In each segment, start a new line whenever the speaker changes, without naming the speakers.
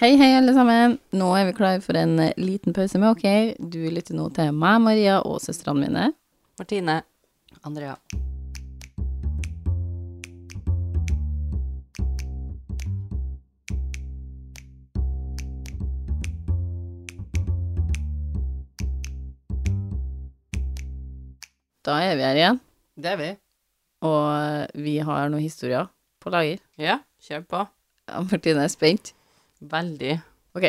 Hei, hei, alle sammen. Nå er vi klar for en eh, liten pause med dere. Du lytter nå til meg, Maria, og søstrene mine.
Martine. Andrea.
Da er vi her igjen,
Det er vi.
og vi har noen historier på lager.
Ja, kjør på.
Ja, Martine er spent.
Veldig.
Ok,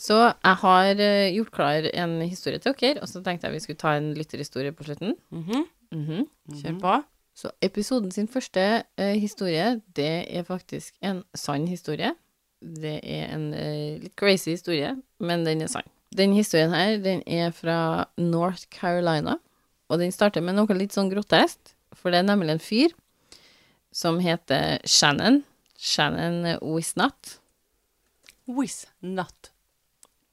så jeg har eh, gjort klar en historie til dere, og så tenkte jeg vi skulle ta en lytterhistorie på slutten.
Mhm.
Mhm.
Kjør på.
Så episoden sin første eh, historie, det er faktisk en sann historie. Det er en eh, litt crazy historie, men den er sann. Den historien her, den er fra North Carolina, og den starter med noe litt sånn grotesk, for det er nemlig en fyr som heter Shannon. Shannon Wisnat.
Wish not.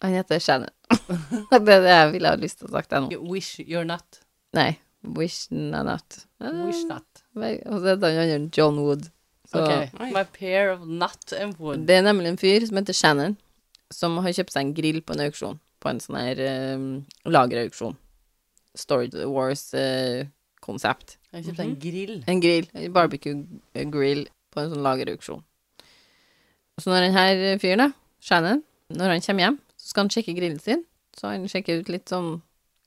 Han heter Shannon. det er det jeg ville ha lyst til å sagt deg nå.
You wish you're not.
Nei, Wishnanat.
Wish not.
Ah, Og så heter han andre John Wood. Så
Ok. My pair of nut and wood.
Det er nemlig en fyr som heter Shannon, som har kjøpt seg en grill på en auksjon. På en sånn her um, lagerauksjon. Storage Wars-konsept.
Jeg kjøpte en grill.
eh, en grill, en barbecue-grill på en sånn lagerauksjon. Så når den her fyren, da, Shannon, når han kommer hjem, så skal han sjekke grillen sin. Så han sjekker ut litt sånn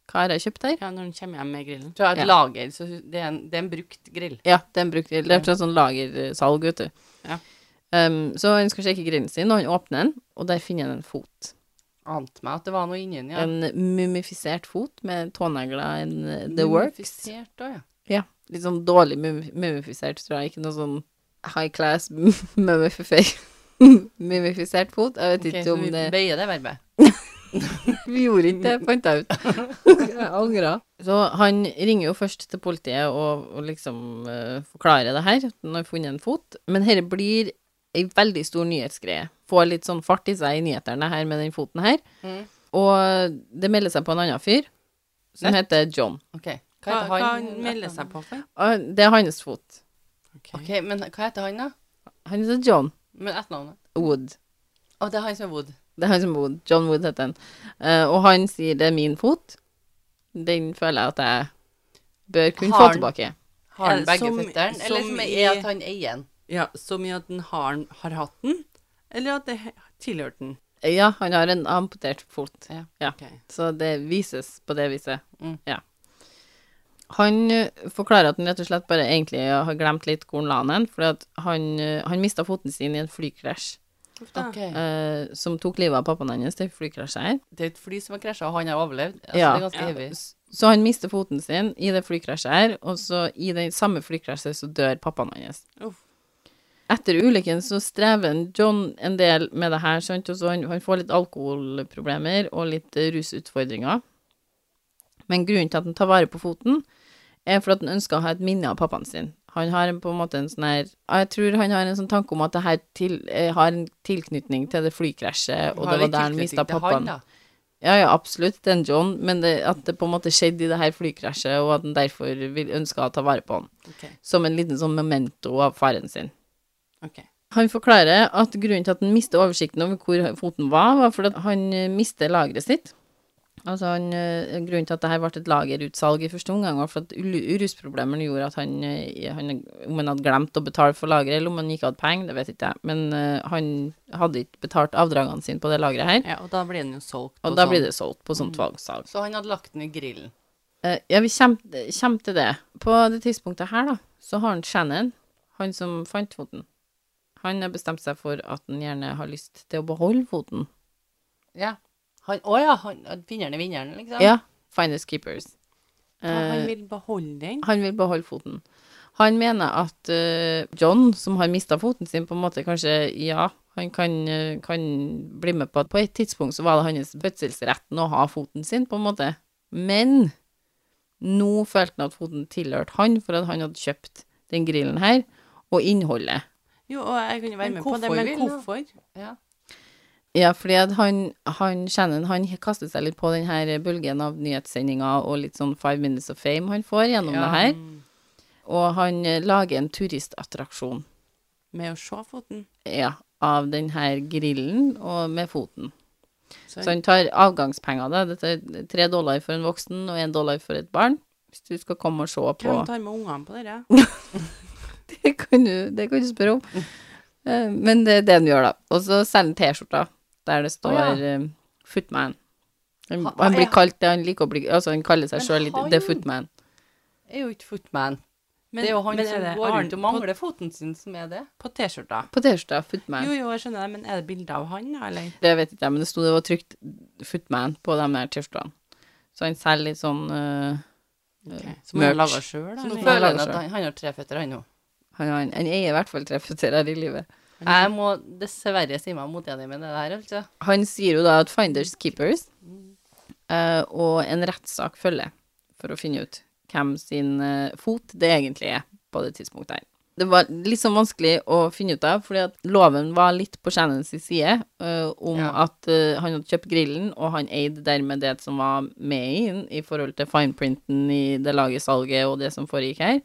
Hva har jeg kjøpt her?
Ja, når hun kommer hjem med grillen. Fra et
Ja.
lager, så det er, en, det er en brukt grill.
Ja, det er en brukt grill. Det er fra sånn lagersalg, vet du.
Ja.
Um, så han skal sjekke grillen sin, og han åpner den, og der finner han en fot.
Ante meg at det var noe inni den, ja.
En mumifisert fot med tånegler and uh, the works.
Mumifisert også, ja.
Litt sånn dårlig mum- mumifisert, tror jeg. Ikke noe sånn high class mumifi- mumifisert fot. Jeg vet
Ok,
ikke
så
om
vi
det
bøyer det verbet.
Vi gjorde ikke det, fant jeg ut. jeg angra. Så han ringer jo først til politiet og, og liksom eh, forklarer det her, at han har funnet en fot. Men dette blir ei veldig stor nyhetsgreie. Får litt sånn fart i seg i nyhetene her med den foten her.
Mhm.
Og det melder seg på en annen fyr som heter John.
Ok. Hva
Hva,
heter
hva
han?
han melder seg på for?
Og Det er hans fot.
Ok, men hva heter han da?
Han heter John
Men etternavnet?
Wood.
Å, det er han som er Wood.
Det er han som Wood. John Wood heter han. Eh, og han sier det er min fot. Den føler jeg at jeg bør kunne
Har
få
han-
tilbake.
Har han
Eh,
begge
som-
føtteren? Eller
som
som
i-
er at han eier en?
Ja, så mye at den har, har hatt den, eller at det he- tilhørte den.
Ja, han har en amputert fot.
Ja,
Ja.
ok.
Så det vises på det viset.
Mm.
Ja. Han ø, forklarer at han rett og slett bare egentlig har glemt litt hvor han la den, fordi at han, ø, han mista foten sin i en flykrasj
Ah.
Ok.
ø, som tok livet av pappaen hans, det flykrasjet her.
Det er et fly som har krasja, og han har overlevd. Altså,
Ja.
Det er ganske
Ja.
heavy.
S- Så han mister foten sin i det flykrasjet her, og så i det samme flykrasjet så dør pappaen hans.
Uff.
Etter ulykken så strever en John en del med det her, sant, og så han, han får litt alkoholproblemer og litt eh, rusutfordringer. Men grunnen til at han tar vare på foten, er for at han ønsker å ha et minne av pappaen sin. Han har en- på en måte en sånn her Jeg tror han har en sånn tanke om at det her til, eh, har en tilknytning til det flykrasjet, og
Har
det var
litt
der han
tilknytning
mista
til han,
pappaen.
da.
Ja, ja, absolutt, den John, men det, at det på en måte skjedde i det her flykrasjet, og at han derfor vil ønske å ta vare på han,
Ok,
som en liten sånn memento av faren sin.
ok.
Han forklarer at grunnen til at han mister oversikten over hvor foten var, var fordi at han eh, mister lageret sitt. Altså, han, eh, grunnen til at dette ble et lagerutsalg i første omgang, var fordi at ulu- rusproblemene gjorde at han, eh, han Om han hadde glemt å betale for lageret, eller om han ikke hadde penger, det vet ikke jeg, men eh, han hadde ikke betalt avdragene sine på det lageret her,
Ja, og da blir den jo solgt.
og da blir det solgt på sånn sånt valgsalg.
Så han hadde lagt den i
Mm.
grillen.
Eh, ja, vi kommer kjem til det. På det tidspunktet her, da, så har han Shannon, han som fant foten, han har bestemt seg for at han gjerne har lyst til å beholde foten.
Ja. Han, å ja, han, at vinneren er vinneren, liksom?
Ja. Finders keepers.
han
Eh,
vil beholde den.
han vil beholde foten. Han mener at eh, John, som har mista foten sin, på en måte kanskje Ja, han kan, eh, kan bli med på at på et tidspunkt så var det hans fødselsretten å ha foten sin, på en måte. Men nå følte han at foten tilhørte han, for at han hadde kjøpt den grillen her, og innholdet.
Jo, og jeg kunne være
Men
med på det,
hvorfor
men
vil han?
hvorfor?
Ja.
Ja, fordi at han, han Shannon, han kaster seg litt på den her bølgen av nyhetssendinger og litt sånn Five Minutes of Fame han får gjennom det her, og han eh, lager en turistattraksjon.
Med å se foten.
Ja, av denne grillen og med foten.
Så
Sånn.
Så han tar avgangspenger. da. Dette er tre dollar for en voksen og én dollar for et barn. Hvis du skal komme og se på
hvem tar med ungene på dere?
Det kan du, det kan du spørre om.
Mm.
Eh, Men det er det han gjør, da. Og så selger han T-skjorter der det står
ja.
eh, Footman. Han,
Ha-
han blir
ja.
kalt det han liker å bli Altså, han kaller seg
Men
sjøl litt
han-
The Footman.
Er jo ikke footman.
Men-
det er jo han
men
som
det
går
Arn
rundt og
på,
mangler foten sin, som er det.
på T-skjorta.
På T-skjorta, Footman.
Jo, jo, jeg skjønner det, men er det bilde av han, da, eller?
Det vet ikke jeg, men det sto det var trykt Footman på de der T-skjortene. Så han selger litt sånn eh,
Okay. Som han har
Merch.
laga sjøl, da?
Så
han
nå
eller?
føler
føler
lager
han at
selv.
han, han har tre føtter, han nå.
han, han, han eier i hvert fall tre føtter her i livet.
Mm.
Jeg må dessverre si meg motenig med det der, altså.
Han sier jo da at finders keepers eh, og en rettssak følger for å finne ut hvem sin eh, fot det egentlig er på det tidspunktet her. Det var litt sånn vanskelig å finne ut av, fordi at loven var litt på Shannons side eh, om
Ja.
at eh, han hadde kjøpt grillen, og han eide dermed det som var med i den i forhold til fineprinten i det laget salget og det som foregikk her.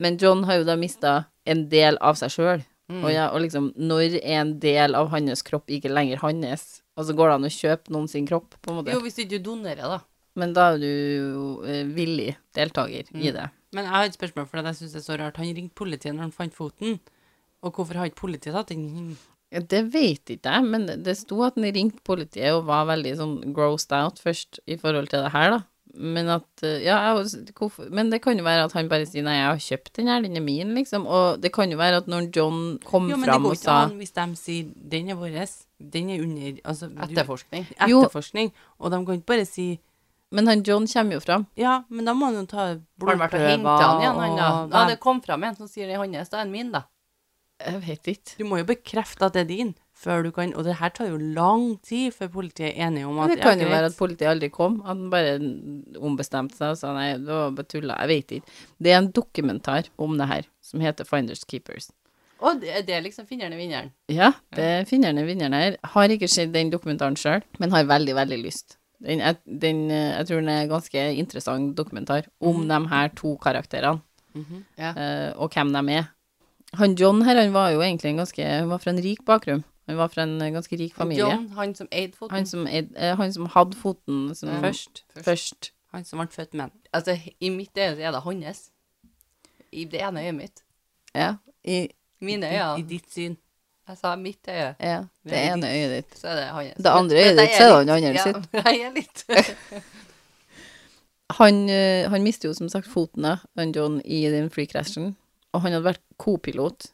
Men John har jo da mista en del av seg sjøl.
Mm.
Og, ja, og liksom, når er en del av hans kropp ikke lenger hans? Altså, går det an å kjøpe noen sin kropp, på en måte?
Jo, hvis ikke du donerer, da.
Men da er du jo eh, villig deltaker
Mm.
i det.
Men jeg har et spørsmål, for jeg syns det er så rart. Han ringte politiet når han fant foten. Og hvorfor har ikke politiet tatt den?
Ja, Det vet ikke jeg, men det- det sto at han ringte politiet og var veldig sånn grossed out først i forhold til det her, da. Men at eh, Ja, jeg, var- hvorfor Men det kan jo være at han bare sier nei, jeg har kjøpt den her, den er min, liksom. Og det kan jo være at når John kom
Jo, men det
fram
går
og
ikke
sa
an hvis de sier 'den er vår', den er under altså, du-
Etterforskning.
Jo.
etterforskning, og de kan ikke bare si
Men han John kommer jo fram.
Ja, men da må han jo ta
Har han vært og
blodprøver
henta han igjen, han da?
og
Ja, det kom fram en som sier det er hans, da er den min, da.
Jeg vet ikke.
Du må jo bekrefte at det er din, før du kan Og det her tar jo lang tid før politiet er enige om at
Men det kan
ja,
jo
greit.
være at politiet aldri kom, at han bare ombestemte seg og sa nei, det var bare tulla, jeg vet ikke. Det er en dokumentar om det her, som heter Finders Keepers.
Og det, det er liksom finneren i vinneren.
Ja, det er finneren er vinneren her. Har ikke sett den dokumentaren sjøl, men har veldig, veldig lyst. Den, er- den, eh, jeg tror den er en ganske interessant dokumentar
Mm.
om de her to karakterene,
Mhm.
Ja.
eh, og hvem de er. Han John her, han var jo egentlig en ganske Han var fra en rik bakgrunn. Han var fra en eh, ganske rik familie.
John, han som eide foten.
Han som, eid- eh, han som hadde foten som
Ja.
først. først.
Han som ble født med den.
Altså, i mitt øye så er det hans. I det ene øyet mitt.
Ja. I,
Mine
I
øyne.
ditt syn.
Jeg sa mitt øye,
ja. Det
Veldig
ene øyet ditt.
så er det hans.
Det andre
Men-
øyet
men
ditt,
jeg
så er det
litt-
han andre
ja,
sitt. Eh.
Jeg er litt
Han, eh, han mister jo som sagt foten da, han John, i den flykrasjen, og han hadde vært co-pilot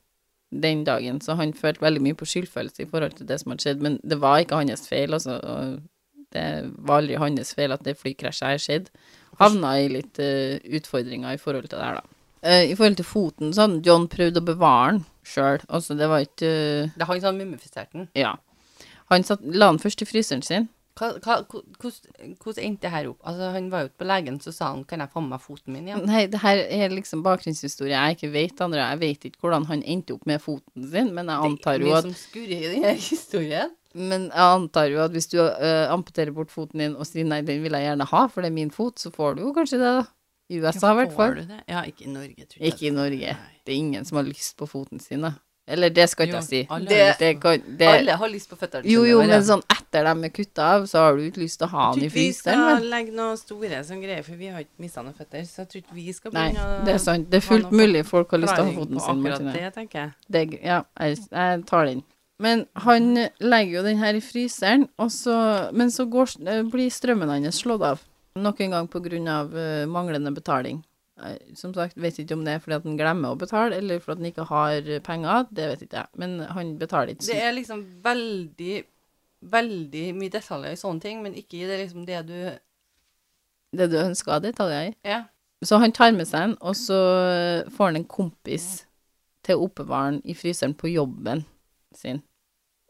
den dagen, så han følte veldig mye på skyldfølelse i forhold til det som hadde skjedd, men det var ikke hans feil, altså. og Det var aldri hans feil at det flykrasjet her skjedde. Havna i litt eh, utfordringer i forhold til det her, da. Eh, I forhold til foten, så hadde John prøvd å bevare den sjøl, altså det var ikke eh,
Det er han som har mumifisert den.
Ja. Han satt, la den først i fryseren sin,
Hva- hva- ko- Hvordan hvordan endte det her opp? Altså, han var jo ikke på legen, så sa han 'kan jeg få med meg foten min igjen'?
Nei, det her er liksom bakgrunnshistorie jeg ikke vet, Andrea. Jeg vet ikke hvordan han endte opp med foten sin, men jeg antar jo
Mye
at,
som skurrer i denne historien.
men jeg antar jo at hvis du øh, amputerer bort foten din og sier nei, den vil jeg gjerne ha, for det er min fot, så får du jo kanskje det, da. I USA, i hvert
Får
fall.
du det? Ja, ikke i Norge, tror jeg.
Ikke i Norge.
Nei.
Det er ingen som har lyst på foten sin, da. Eller det skal ikke
Jo,
jeg si.
alle har
Det,
lyst
det kan, det,
Alle har lyst på føttene
jo,
sine,
jo,
bare.
men sånn etter de er kutta av, så har du ikke lyst til å ha
Jeg tror
den i
ikke vi
fryseren. men-
skal legge noe store som greier, for vi har ikke mista noen føtter. Så jeg tror ikke vi skal
Nei,
begynne å
det er sant. Det er fullt
ha noe
mulig folk har lyst til å ha
forklaring
foten
på
sin,
akkurat
Martine.
Det, tenker jeg.
Det, er gøy. ja, jeg, jeg tar den. Men han legger jo den her i fryseren, og så, men så går, eh, blir strømmen hans slått av. Nok en gang på grunn av eh, manglende betaling. Jeg, som sagt, vet ikke om det er fordi at han glemmer å betale, eller fordi at han ikke har eh, penger, det vet ikke jeg. Men han betaler ikke.
Det er liksom veldig, veldig mye detaljer i sånne ting, men ikke i det liksom det du
Det du ønsker, det tar jeg i.
Ja.
Så han tar med seg den, og så får han en kompis til å oppbevare den i fryseren på jobben sin.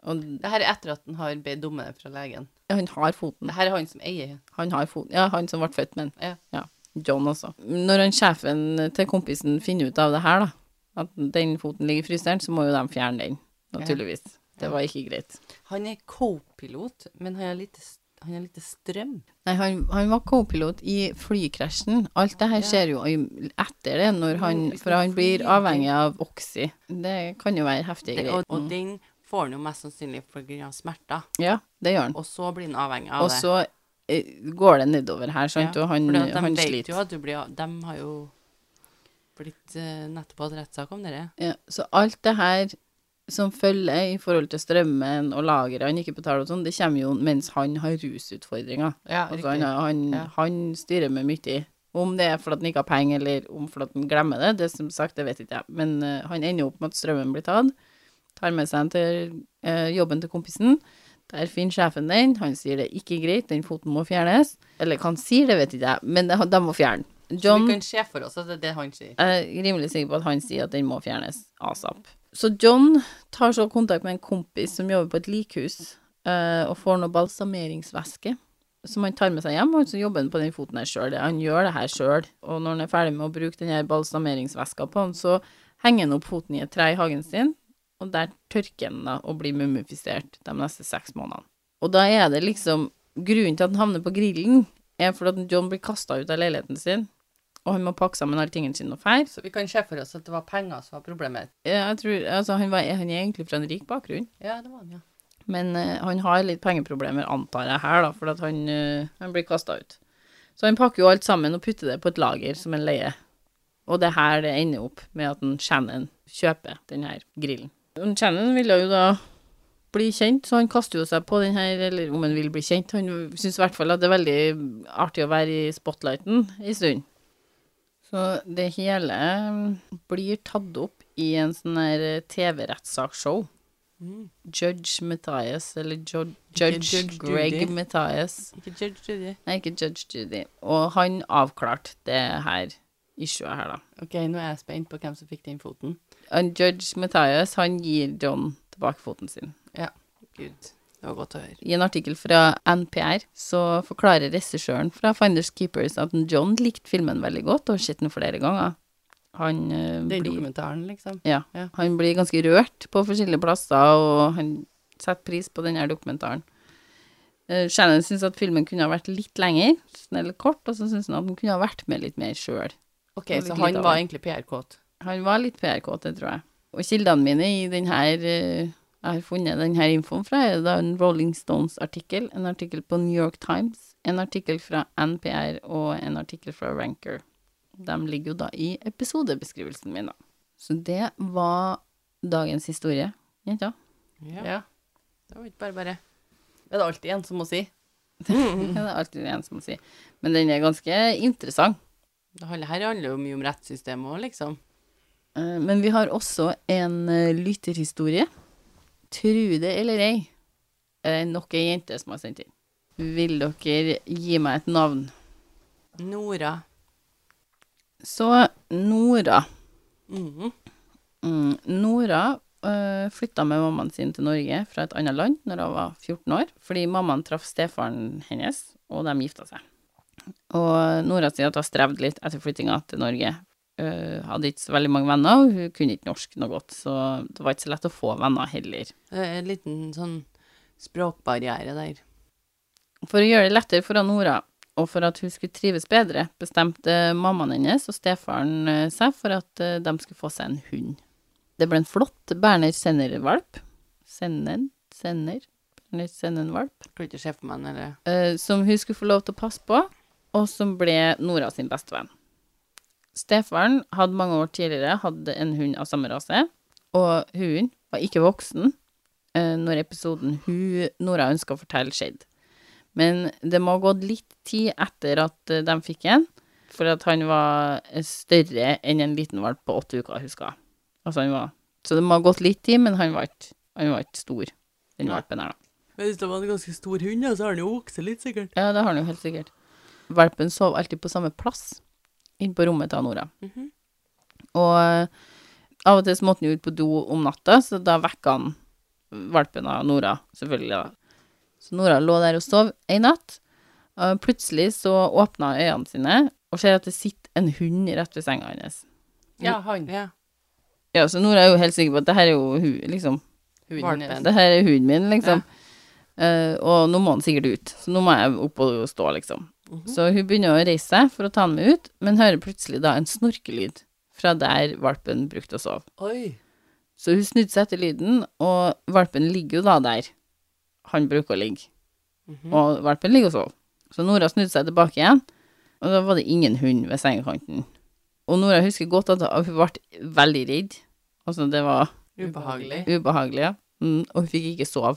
Og
Det her er etter at han har bedt dommene fra legen.
han har foten.
Det her er han som eier.
Han har foten. Ja, han som ble født med den.
Ja.
John også. Når han sjefen til kompisen finner ut av det her, da, at den foten ligger i fryseren, så må jo de fjerne den, naturligvis. Det var ikke greit.
Han er co-pilot, men han har lite, s- han har lite strøm.
Nei, han, han var co-pilot i flykrasjen. Alt det her skjer jo i- etter det, mm. når han, for han blir avhengig av Oxy. Det kan jo være heftige
Det, og,
greier.
og den får han jo mest sannsynlig pga. smerter.
Ja, det gjør han.
Og så blir han avhengig av
Og så eh, går det nedover her, sant,
Ja,
og han,
det. For de
han
vet jo
sliter.
at du blir De har jo blitt eh, nettopp hatt rettssak om dette.
Ja, så alt det her som følger i forhold til strømmen og lageret han ikke betaler og sånn, det kommer jo mens han har rusutfordringer.
sånn, Ja,
Altså, han,
riktig.
har- han,
Ja.
han styrer med mye. Om det er fordi han ikke har penger, eller om fordi han glemmer det, det som sagt, det vet ikke jeg. Men eh, han ender jo opp med at strømmen blir tatt. Tar med seg den til eh, jobben til kompisen. Der finner sjefen den. Han sier det er ikke greit, den foten må fjernes. Eller hva han sier, det vet ikke jeg, men det, de må fjerne.
Så
John
vi kan se for oss at det er det han sier.
jeg er rimelig sikker på at han sier at den må fjernes asap. Så John tar så kontakt med en kompis som jobber på et likhus, eh, og får noe balsameringsvæske som han tar med seg hjem, og så jobber han på den foten her sjøl. Han gjør det her sjøl. Og når han er ferdig med å bruke den her balsameringsvæska på han, så henger han opp foten i et tre i hagen sin, og der tørker han da og blir mumifisert de neste seks månedene. Og da er det liksom Grunnen til at han havner på grillen, er fordi at John blir kasta ut av leiligheten sin, og han må pakke sammen alle tingene sine og fære.
Så vi kan se for oss at det var penger som var problemet.
Ja, jeg tror, altså, han, var, han er egentlig fra en rik bakgrunn,
Ja, det var han, ja.
men eh, han har litt pengeproblemer, antar jeg her, da, for at han, eh, han blir kasta ut. Så han pakker jo alt sammen og putter det på et lager som han leier. Og det er her det ender opp med at en Shannon kjøper den her grillen. En Shannon ville jo da bli kjent, så han kaster jo seg på den her, eller om han vil bli kjent. Han syns i hvert fall at det er veldig artig å være i spotlighten en stund. Så det hele mm, blir tatt opp i en sånn her eh, TV-rettssakshow.
Mm.
Judge Mathias, eller jo Judge,
Judge
Greg
Judy.
Mathias.
Ikke judge Judy.
Nei, ikke Judge Judy. Og han avklarte det her issuet her, da.
Ok, nå er jeg spent på hvem som fikk den foten.
Og Judge Mathias, han gir John tilbake foten sin.
Gud, det var godt å høre.
I en artikkel fra NPR så forklarer regissøren fra Finders Keepers at John likte filmen veldig godt og har sett den flere ganger. Han, eh,
Den
blir,
dokumentaren, liksom.
han blir ganske rørt på forskjellige plasser, og han setter pris på denne dokumentaren. Eh, Shannon syns at filmen kunne ha vært litt lenger, snill kort, og så syns han at den kunne ha vært med litt mer sjøl.
Ok,
Det var
så
litt
han
lite av
var
det.
egentlig PR-kåt.
Han var litt PR-kåt, det tror jeg. Og kildene mine i den her eh, jeg har funnet den her infoen fra, er da en Rolling Stones-artikkel, en artikkel på New York Times, en artikkel fra NPR og en artikkel fra Ranker. De ligger jo da i episodebeskrivelsen min, da. Så det var dagens historie, jenter.
Ja,
Ja.
Det var ikke bare bare.
Det er det alltid en som må si.
Det er det alltid en som sier. Men den er ganske interessant.
Det handler- her handler jo mye om rettssystemet òg, liksom.
Eh, Men vi har også en eh, lytterhistorie. Tru det eller ei, er det nok ei jente som har sendt inn. Vil dere gi meg et navn?
Nora.
Så Nora
Mhm.
mm, Nora eh, flytta med mammaen sin til Norge fra et annet land når hun var 14 år, fordi mammaen traff stefaren hennes, og de gifta seg. Og Nora sier at hun strevde litt etter flyttinga til Norge. Eh, hadde ikke så veldig mange venner, og hun kunne ikke norsk noe godt, så det var ikke så lett å få venner heller.
Det er En liten sånn språkbarriere der.
For å gjøre det lettere for Nora, og for at hun skulle trives bedre, bestemte mammaen hennes og stefaren eh, seg for at eh, de skulle få seg en hund. Det ble en flott Berner-Senner-valp. Sennen? Senner? Berner-Senner-valp.
Jeg Klarer ikke å se for meg den, eller
eh, Som hun skulle få lov til å passe på, og som ble Nora sin bestevenn. Stefaren hadde mange år tidligere hatt en hund av samme rase, og hunden var ikke voksen eh, når episoden hun Nora ønska å fortelle, skjedde. Men det må ha gått litt tid etter at eh, de fikk en, for at han var eh, større enn en liten valp på åtte uker, husker jeg. Altså han var Så det må ha gått litt tid, men han var ikke, han var ikke stor, den
Nei.
valpen her, da.
Men Hvis det var en ganske stor hund, ja, så har den jo vokst litt, sikkert.
Ja, det har han jo helt sikkert. Valpen sov alltid på samme plass inne på rommet til Nora.
Mhm.
Og eh, av og til så måtte han jo ut på do om natta, så da vekka han valpen av Nora, selvfølgelig. da. Så Nora lå der og sov ei natt. og Plutselig så åpna hun øynene sine og ser at det sitter en hund rett ved senga hennes.
Ja, han.
Ja.
Ja, så Nora er jo helt sikker på at det her er jo hun, liksom.
Huden
Valpen.
er
Det her er huden min, liksom. Eh, og nå må han sikkert ut, så nå må jeg opp og stå, liksom.
Mhm.
Så hun begynner å reise seg for å ta han med ut, men hører plutselig da en snorkelyd fra der valpen brukte å sove.
Oi.
Så hun snudde seg etter lyden, og valpen ligger jo da der han bruker å ligge. Og valpen ligger og sover. Så Nora snudde seg tilbake igjen, og da var det ingen hund ved sengekanten. Og Nora husker godt at hun ble veldig redd. Altså, det var
Ubehagelig.
ubehagelig, ja. Mm, og hun fikk ikke sove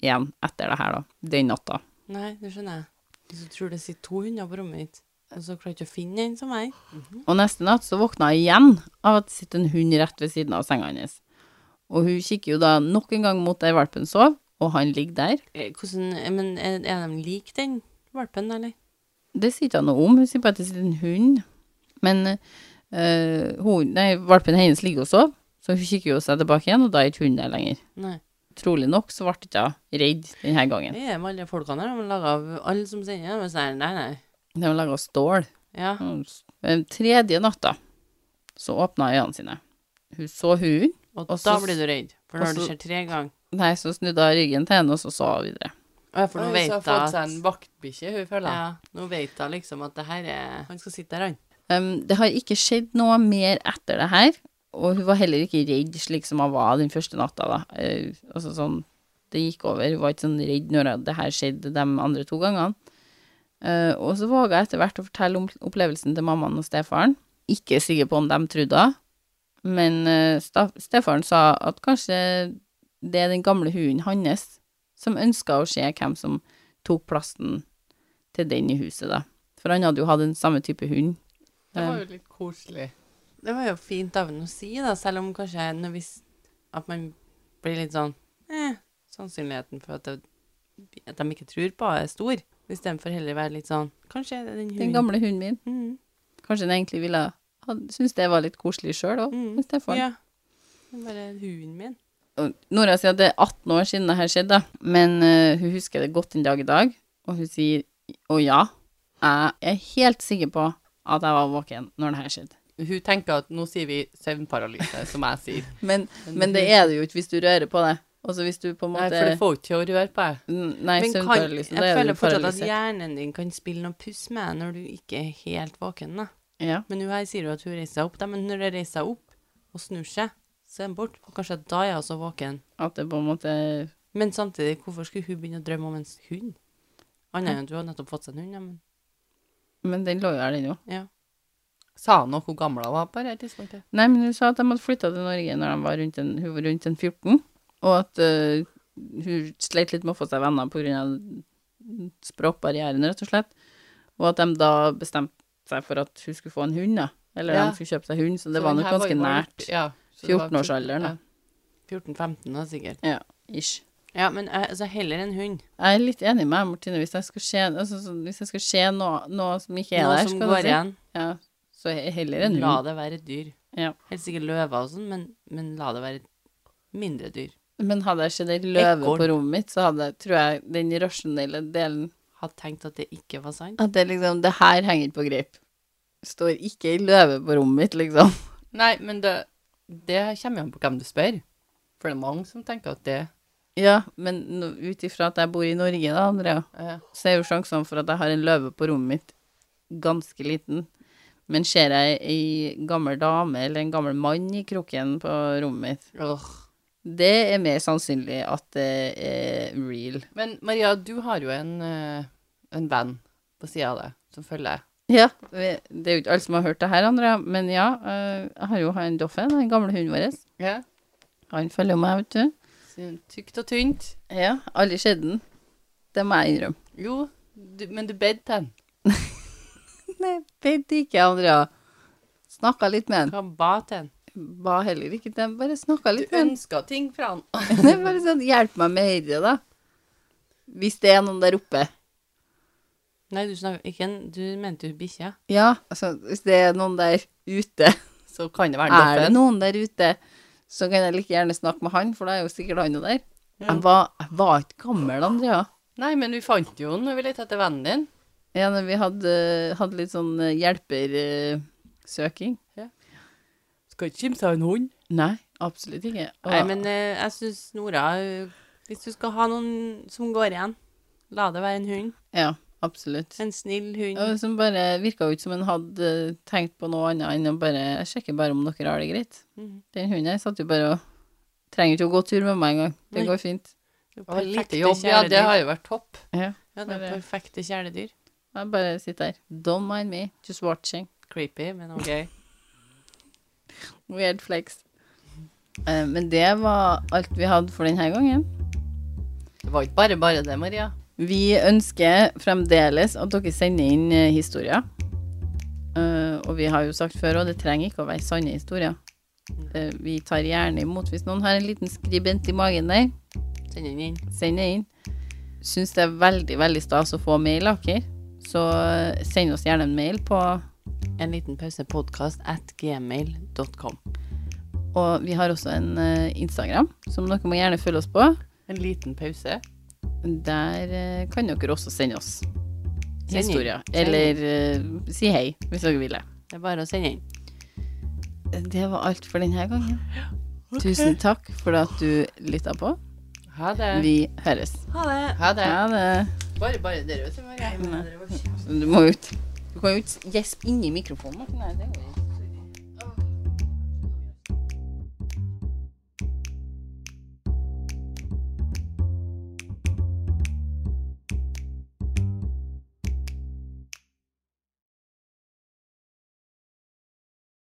igjen etter det her, da. Den natta.
Nei, det skjønner jeg. Hvis du tror det sitter to hunder på rommet mitt, og så klarer du ikke å finne en som meg
Og neste natt så våkna jeg igjen av at det sitter en hund rett ved siden av senga hennes. Og hun kikker jo da nok en gang mot der valpen sov, og han ligger der.
Eh, Hvordan, eh, men er, er de lik den valpen, eller?
Det sier ikke han noe om, hun sier bare at det sitter en hund. Men eh, hun, nei, valpen hennes ligger og sover, så hun kikker jo seg tilbake igjen, og da er ikke hunden der lenger.
Nei.
Trolig nok så ble hun ikke redd denne gangen.
Det er med alle folkene her. De er laget av alle som sender dem. og så er det- Nei, nei.
De har laga stål.
Ja.
Den tredje natta så åpna øynene sine. Hun så hunden.
Og
Og
da
så-
blir du redd. For når
og
det
så-
skjer tre ganger
Nei, så snudde hun ryggen til henne, og så sa hun videre.
Å, For nå vet
hun har
jeg
fått seg en
at
vaktbikkje, hun føler.
ja, Nå vet jeg liksom at det her er Han skal sitte der, han.
Ehm, det har ikke skjedd noe mer etter det her, og hun var heller ikke redd slik som hun var den første natta, da. Eh, altså sånn, det gikk over, hun var ikke sånn redd når det her skjedde de andre to gangene. Eh, og så våga jeg etter hvert å fortelle om opplevelsen til mammaen og stefaren. Ikke sikker på om de trodde henne, men eh, sta- stefaren sa at kanskje det er den gamle hunden hans som ønska å se hvem som tok plassen til den i huset, da. For han hadde jo hatt den samme type hund. Eh,
Det var jo litt koselig.
Det var jo fint av henne å si, da, selv om kanskje når vi, s- at man blir litt sånn eh, Sannsynligheten for at, det, at de ikke tror på henne, er stor. Istedenfor heller være litt sånn Kanskje er det den
Den
hunden.
gamle hunden min.
Mm,
Kanskje den egentlig ville Han syntes det var litt koselig sjøl òg,
Mm.
men Stefan.
ja. Det er bare hunden min.
Og Nora sier at det er 18 år siden det her skjedde, da. men eh, hun husker det godt den dag i dag, og hun sier å ja, jeg er helt sikker på at jeg var våken når det her skjedde.
Hun tenker at nå sier vi søvnparalyse, som jeg sier.
Men, men det er det jo ikke hvis du rører på det. Altså hvis du på en
Nei,
måte
for det får jo ikke å røre på deg.
N- Nei,
Men kan, jeg
søvnparalysen, da er
føler
du
fortsatt at
paralysert.
hjernen din kan spille noe puss med deg når du ikke er helt våken. da.
Ja.
Men hun her sier jo at hun reiser seg opp, da, men når hun reiser seg opp og snur seg, så er hun borte. Og kanskje da er jeg også våken.
At det på en måte
Men samtidig, hvorfor skulle hun begynne å drømme om en hund? Annet enn at hun har nettopp fått seg en hund, ja, men
Men den lå jo der, den òg.
ja.
Sa han nok hvor gammel hun var på det tidspunktet?
Nei, men hun sa at de hadde flytta til Norge når de var rundt en, hun var rundt en 14, og at eh, hun sleit litt med å få seg venner pga. språkbarrieren, rett og slett. Og at de da bestemte seg for at hun skulle få en hund, da. Eller
Ja.
de skulle kjøpe seg hund, så det
Så
var
den
nok
her
ganske
jo
nært.
valgt- ja, så det var
14-årsalderen, da.
14-15 da, sikkert.
Ish.
Ja, men eh, altså, heller en hund.
Jeg er litt enig med deg, Martine. Hvis jeg skal se, altså, så- hvis jeg skal se noe, noe som ikke er
Noe
der,
som
skal jeg
går
si,
igjen.
ja, så he- heller en
La
hund.
det være et dyr.
Ja.
Helst ikke løver og sånn, men, men la det være et mindre dyr.
Men hadde jeg sett ei løve
Ekorn.
på rommet mitt, så hadde jeg, tror jeg den rasjonelle delen
Hadde tenkt at det ikke var sant.
At det liksom Det her henger ikke på greip. Står ikke ei løve på rommet mitt, liksom.
Nei, men det, det kommer jo an på hvem du spør. For det er mange som tenker at det
Ja, men no- ut ifra at jeg bor i Norge, da, Andrea,
eh,
så er jo sjansene for at jeg har en løve på rommet mitt, ganske liten. Men ser jeg ei gammel dame eller en gammel mann i kroken på rommet mitt, det er mer sannsynlig at det er real.
Men Maria, du har jo en, eh, en venn på sida av deg som følger
Ja, det det er jo ikke alle som har hørt det her, Andrea, men ja, øh, jeg har jo en Doffen, den gamle hunden vår.
ja.
Han følger meg, vet du.
sin- tykt og tynt.
Ja, aldri sett den. Det må jeg innrømme.
Jo, du, men du bedte den.
Nei, bedde ikke, Andrea. Snakka litt med han.
Hva ba til den?
Ba heller ikke til han, bare snakka
Du
litt med
ønska ting fra han.
han. Bare sånn, hjelp meg med dette, da. Hvis det er noen der oppe.
Nei, du snakker ikke en Du mente jo bikkja.
Ja, altså, hvis det er noen der ute,
Så kan det være
er det
en doffen.
noen der ute, så kan jeg like gjerne snakke med han, for da er jo sikkert han jo der. Jeg var, jeg var ikke gammel, Andrea.
Nei, men vi fant jo den når vi lette etter vennen din.
Ja, når vi hadde, hadde litt sånn eh, hjelpersøking.
Skal ikke kimse av en hund.
Nei, absolutt ikke. Og-
Nei, men eh, jeg syns Nora eh, Hvis du skal ha noen som går igjen, la det være en hund.
Ja, absolutt.
En snill hund.
Ja, som bare virka ut som han hadde tenkt på noe annet enn å bare Jeg sjekker bare om dere har det greit.
Mhm.
Den hunden her satt jo bare og Trenger ikke å gå tur med meg engang. Det
Nei.
går fint.
Det
Og lite
perfekte
jobb, ja, det
kjæledyr.
har jo vært topp.
Ja.
Ja, det er perfekte kjæledyr.
Jeg bare sitter her. Don't mind me, just watching.
Creepy, men OK.
Weird flex. Eh, Men det var alt vi hadde for denne gangen.
Det var ikke bare bare det, Maria.
Vi ønsker fremdeles at dere sender inn eh, historier. Eh, og vi har jo sagt før, og det trenger ikke å være sanne historier. Eh, vi tar gjerne imot hvis noen har en liten skribent i magen der.
Send den inn.
Send det inn. Syns det er veldig, veldig stas å få mail av dere. Så eh, send oss gjerne en mail på
En liten pause podcast at gmail.com.
Og vi har også en eh, Instagram, som dere må gjerne følge oss på.
En liten pause.
Der eh, kan dere også sende oss
inn.
historier.
Send inn.
Eller eh, si hei, hvis dere vil det.
Det er bare å sende inn.
Det var alt for denne gangen. Tusen takk for at du lytta på.
Ha det.
Vi høres.
Ha det.
Ha det.
Ha det.
Bare bare det, vet du, Maria.
Du må ut. Du kan jo ikke gjespe inni mikrofonen. Martin. Nei, det går ikke.